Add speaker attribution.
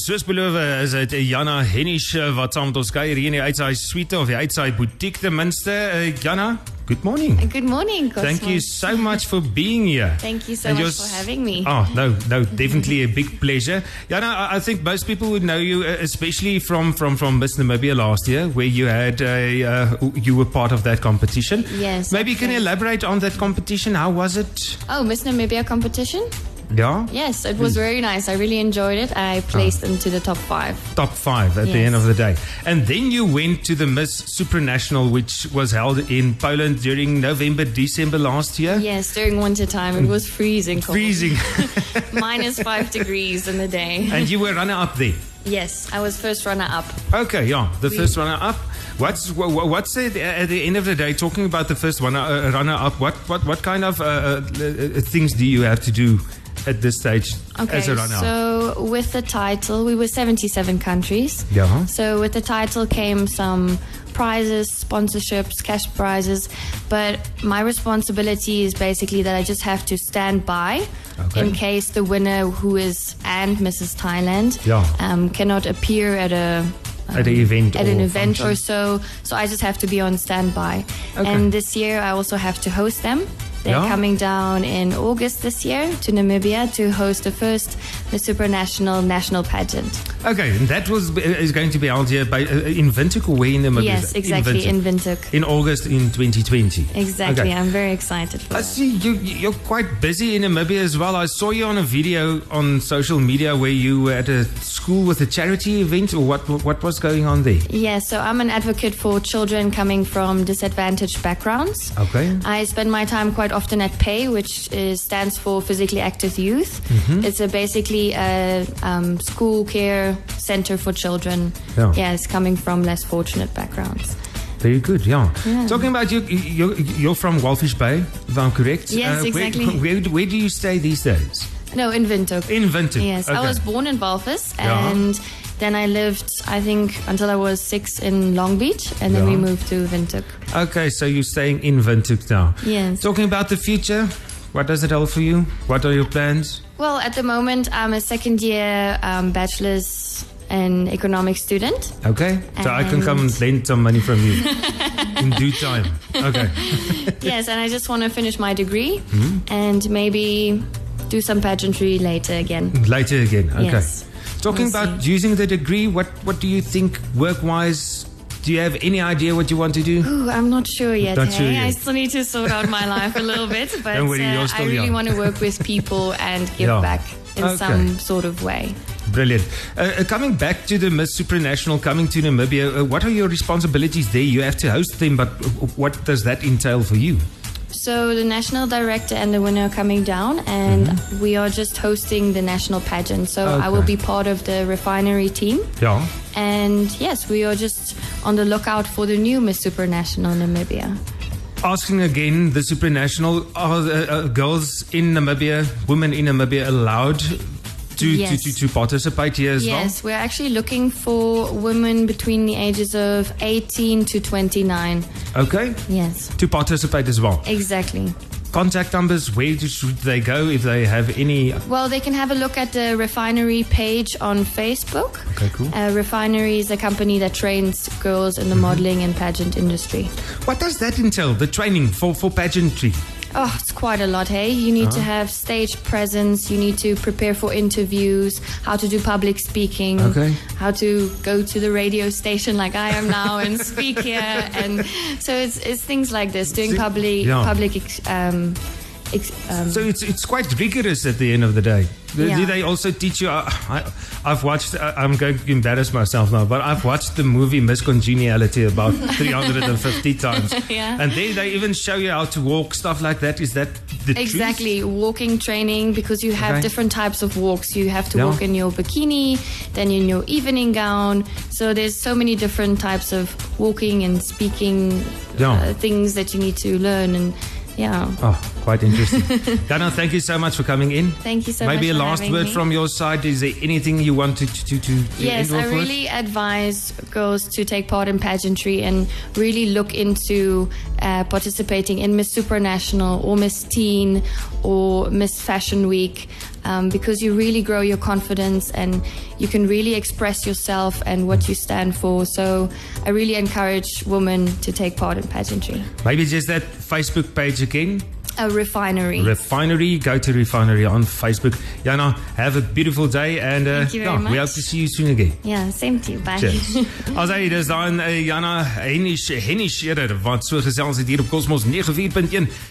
Speaker 1: Soos beloof eh, is dit Janna Hennish eh, wat saam met ons kuier hier in die uitsaai suite of die uitsaai butiek ten minste. Uh, Janna, good morning.
Speaker 2: Good morning, Cosmo.
Speaker 1: Thank you so much for being here.
Speaker 2: Thank you so
Speaker 1: And
Speaker 2: much
Speaker 1: you're s-
Speaker 2: for having me.
Speaker 1: Oh, no, no, definitely a big pleasure. Jana, I, I think most people would know you, uh, especially from, from, from Miss Namibia last year, where you had a, uh, you were part of that competition.
Speaker 2: Yes,
Speaker 1: Maybe you can you
Speaker 2: that's
Speaker 1: elaborate on that competition? How was it?
Speaker 2: Oh, Miss Namibia competition?
Speaker 1: Yeah?
Speaker 2: Yes, it
Speaker 1: Hmm.
Speaker 2: was very nice. I really enjoyed it. I placed into the top five.
Speaker 1: Top five at the
Speaker 2: Yes.
Speaker 1: end of the day. And then you went to the Miss Supranational, which was held in Poland during November, December last year.
Speaker 2: Yes, during winter time, it was freezing cold.
Speaker 1: Freezing.
Speaker 2: Minus five degrees in the day.
Speaker 1: and you were runner up there.
Speaker 2: Yes, I was first runner up.
Speaker 1: Okay, yeah, the first runner up. What's wha- wha- what's it at the end of the day? Talking about the first runner uh, runner up, what what what kind of uh, uh, uh, things do you have to do at this stage
Speaker 2: Okay,
Speaker 1: as a runner up?
Speaker 2: so with the title, we were 77 countries.
Speaker 1: Yeah.
Speaker 2: So with the title came some prizes, sponsorships, cash prizes, but my responsibility is basically that I just have to stand by
Speaker 1: Okay.
Speaker 2: in case the winner, who is and Mrs. Thailand,
Speaker 1: Yeah.
Speaker 2: um, cannot appear at a um,
Speaker 1: At an event
Speaker 2: at an
Speaker 1: or
Speaker 2: event
Speaker 1: function.
Speaker 2: or so. So I just have to be on standby.
Speaker 1: Okay.
Speaker 2: And this year, I also have to host them. They're
Speaker 1: Yeah.
Speaker 2: coming down in August this year to Namibia to host the first the supranational national pageant.
Speaker 1: Okay, and that was uh, is going to be held here by uh, in Windhoek or where in the middle?
Speaker 2: yes, exactly, in
Speaker 1: In,
Speaker 2: Windhoek.
Speaker 1: in August in 2020.
Speaker 2: Exactly,
Speaker 1: Okay.
Speaker 2: I'm very excited for
Speaker 1: I
Speaker 2: that.
Speaker 1: see you, you're quite busy in Namibia as well. I saw you on a video on social media where you were at a school with a charity event. Or what, what was going on there?
Speaker 2: Yeah, so I'm an advocate for children coming from disadvantaged backgrounds.
Speaker 1: Okay.
Speaker 2: I spend my time quite often at PAY, which is, stands for Physically Active Youth.
Speaker 1: Mm-hmm.
Speaker 2: It's a basically a um, school care center for children.
Speaker 1: Yeah.
Speaker 2: Yes, coming from less fortunate backgrounds.
Speaker 1: Very good, yeah.
Speaker 2: Yeah.
Speaker 1: Talking about you, you, you're from Walfish Bay, if I'm correct. Uh,
Speaker 2: Yes,
Speaker 1: where-
Speaker 2: exactly.
Speaker 1: Where, where do you stay these days?
Speaker 2: No, in Windhoek.
Speaker 1: In Vinton.
Speaker 2: Yes, I
Speaker 1: Okay.
Speaker 2: was born in Balfus
Speaker 1: Yeah.
Speaker 2: and then I lived, I think, until I was six in Long Beach and then we
Speaker 1: Yeah.
Speaker 2: moved to Windhoek.
Speaker 1: Okay, so you're staying in Vintuk now.
Speaker 2: Yes.
Speaker 1: Talking about the future, what does it hold for you? What are your plans?
Speaker 2: Well, at the moment, I'm a second year um, bachelor's and economics student.
Speaker 1: Okay, so I can come and
Speaker 2: And-
Speaker 1: lend some money from you in due time. Okay,
Speaker 2: yes, and I just want to finish my degree
Speaker 1: Mm-hmm.
Speaker 2: and maybe do some pageantry later again.
Speaker 1: later again. Okay.
Speaker 2: Yes.
Speaker 1: Talking
Speaker 2: We'll
Speaker 1: about using the degree, what, what do you think work wise? Do you have any idea what you want to do?
Speaker 2: Ooh, I'm not sure yet.
Speaker 1: Not
Speaker 2: hey?
Speaker 1: sure yet.
Speaker 2: I still need to sort out my life a little bit, but
Speaker 1: Don't worry,
Speaker 2: uh,
Speaker 1: you're still
Speaker 2: I really
Speaker 1: young.
Speaker 2: want to work with people and give
Speaker 1: Yeah.
Speaker 2: back in
Speaker 1: Okay.
Speaker 2: some sort of way.
Speaker 1: Brilliant. Uh, uh, coming back to the Miss Supranational, coming to Namibia, uh, what are your responsibilities there? You have to host them, but w- what does that entail for you?
Speaker 2: So the national director and the winner are coming down, and we are just hosting the national pageant. So I
Speaker 1: Mm-hmm.
Speaker 2: will
Speaker 1: Okay.
Speaker 2: be part of the refinery team.
Speaker 1: Yeah.
Speaker 2: And yes, we are just on the lookout for the new Miss Supranational Namibia.
Speaker 1: Asking again, the Supranational, are uh, uh, girls in Namibia, women in Namibia allowed to,
Speaker 2: Yes.
Speaker 1: to, to, to participate here as
Speaker 2: Yes, we're actually looking for women between the ages of 18 to 29.
Speaker 1: well? Okay.
Speaker 2: Yes,
Speaker 1: To participate as well.
Speaker 2: exactly.
Speaker 1: Contact numbers, where do- should they go if they have any?
Speaker 2: Well, they can have a look at the refinery page on Facebook.
Speaker 1: Okay, cool. Mm-hmm.
Speaker 2: Uh, refinery is a company that trains girls in the modeling and pageant industry.
Speaker 1: What does that entail? The training for, for pageantry?
Speaker 2: Oh, it's quite a lot, hey? You need
Speaker 1: Uh-huh.
Speaker 2: to have stage presence, you need to prepare for interviews, how to do public speaking,
Speaker 1: Okay.
Speaker 2: how to go to the radio station like I am now and speak here. And so it's, it's things like this, doing
Speaker 1: See,
Speaker 2: public,
Speaker 1: yeah.
Speaker 2: public ex, um, ex, um,
Speaker 1: So it's it's quite rigorous at the end of the day. Do- Do
Speaker 2: Yeah.
Speaker 1: they also teach you? I, I, I've watched. I, I'm going to embarrass myself now, but I've watched the movie Miss Congeniality about 350 times,
Speaker 2: Yeah.
Speaker 1: and they they even show you how to walk stuff like that. Is that the truth?
Speaker 2: Exactly, walking training because you have
Speaker 1: Okay.
Speaker 2: different types of walks. You have to
Speaker 1: Yeah.
Speaker 2: walk in your bikini, then in your evening gown. So there's so many different types of walking and speaking
Speaker 1: Yeah.
Speaker 2: uh, things that you need to learn. And yeah,
Speaker 1: Oh, quite interesting. Dana, thank you so much for coming in.
Speaker 2: thank you so much.
Speaker 1: Maybe a
Speaker 2: for
Speaker 1: last
Speaker 2: having
Speaker 1: word
Speaker 2: me.
Speaker 1: from your side. Is there anything you want to to to? to
Speaker 2: Yes,
Speaker 1: end
Speaker 2: I
Speaker 1: off with?
Speaker 2: really advise girls to take part in pageantry and really look into uh, participating in Miss Supranational or Miss Teen or Miss Fashion Week. um, because you really grow your confidence and you can really express yourself and what you stand for. So I really encourage women to take part in pageantry.
Speaker 1: Maybe just that Facebook page again.
Speaker 2: A refinery.
Speaker 1: Refinery, go to Refinery on Facebook. Jana, have a beautiful day and uh,
Speaker 2: Thank you very
Speaker 1: yeah, we
Speaker 2: much.
Speaker 1: hope to see you soon again.
Speaker 2: yeah, same to you. Bye.
Speaker 1: Cheers. As hy dis eh, dan uh, Jana Hennie Hennie Scherer wat so gesels het hier op Cosmos 94.1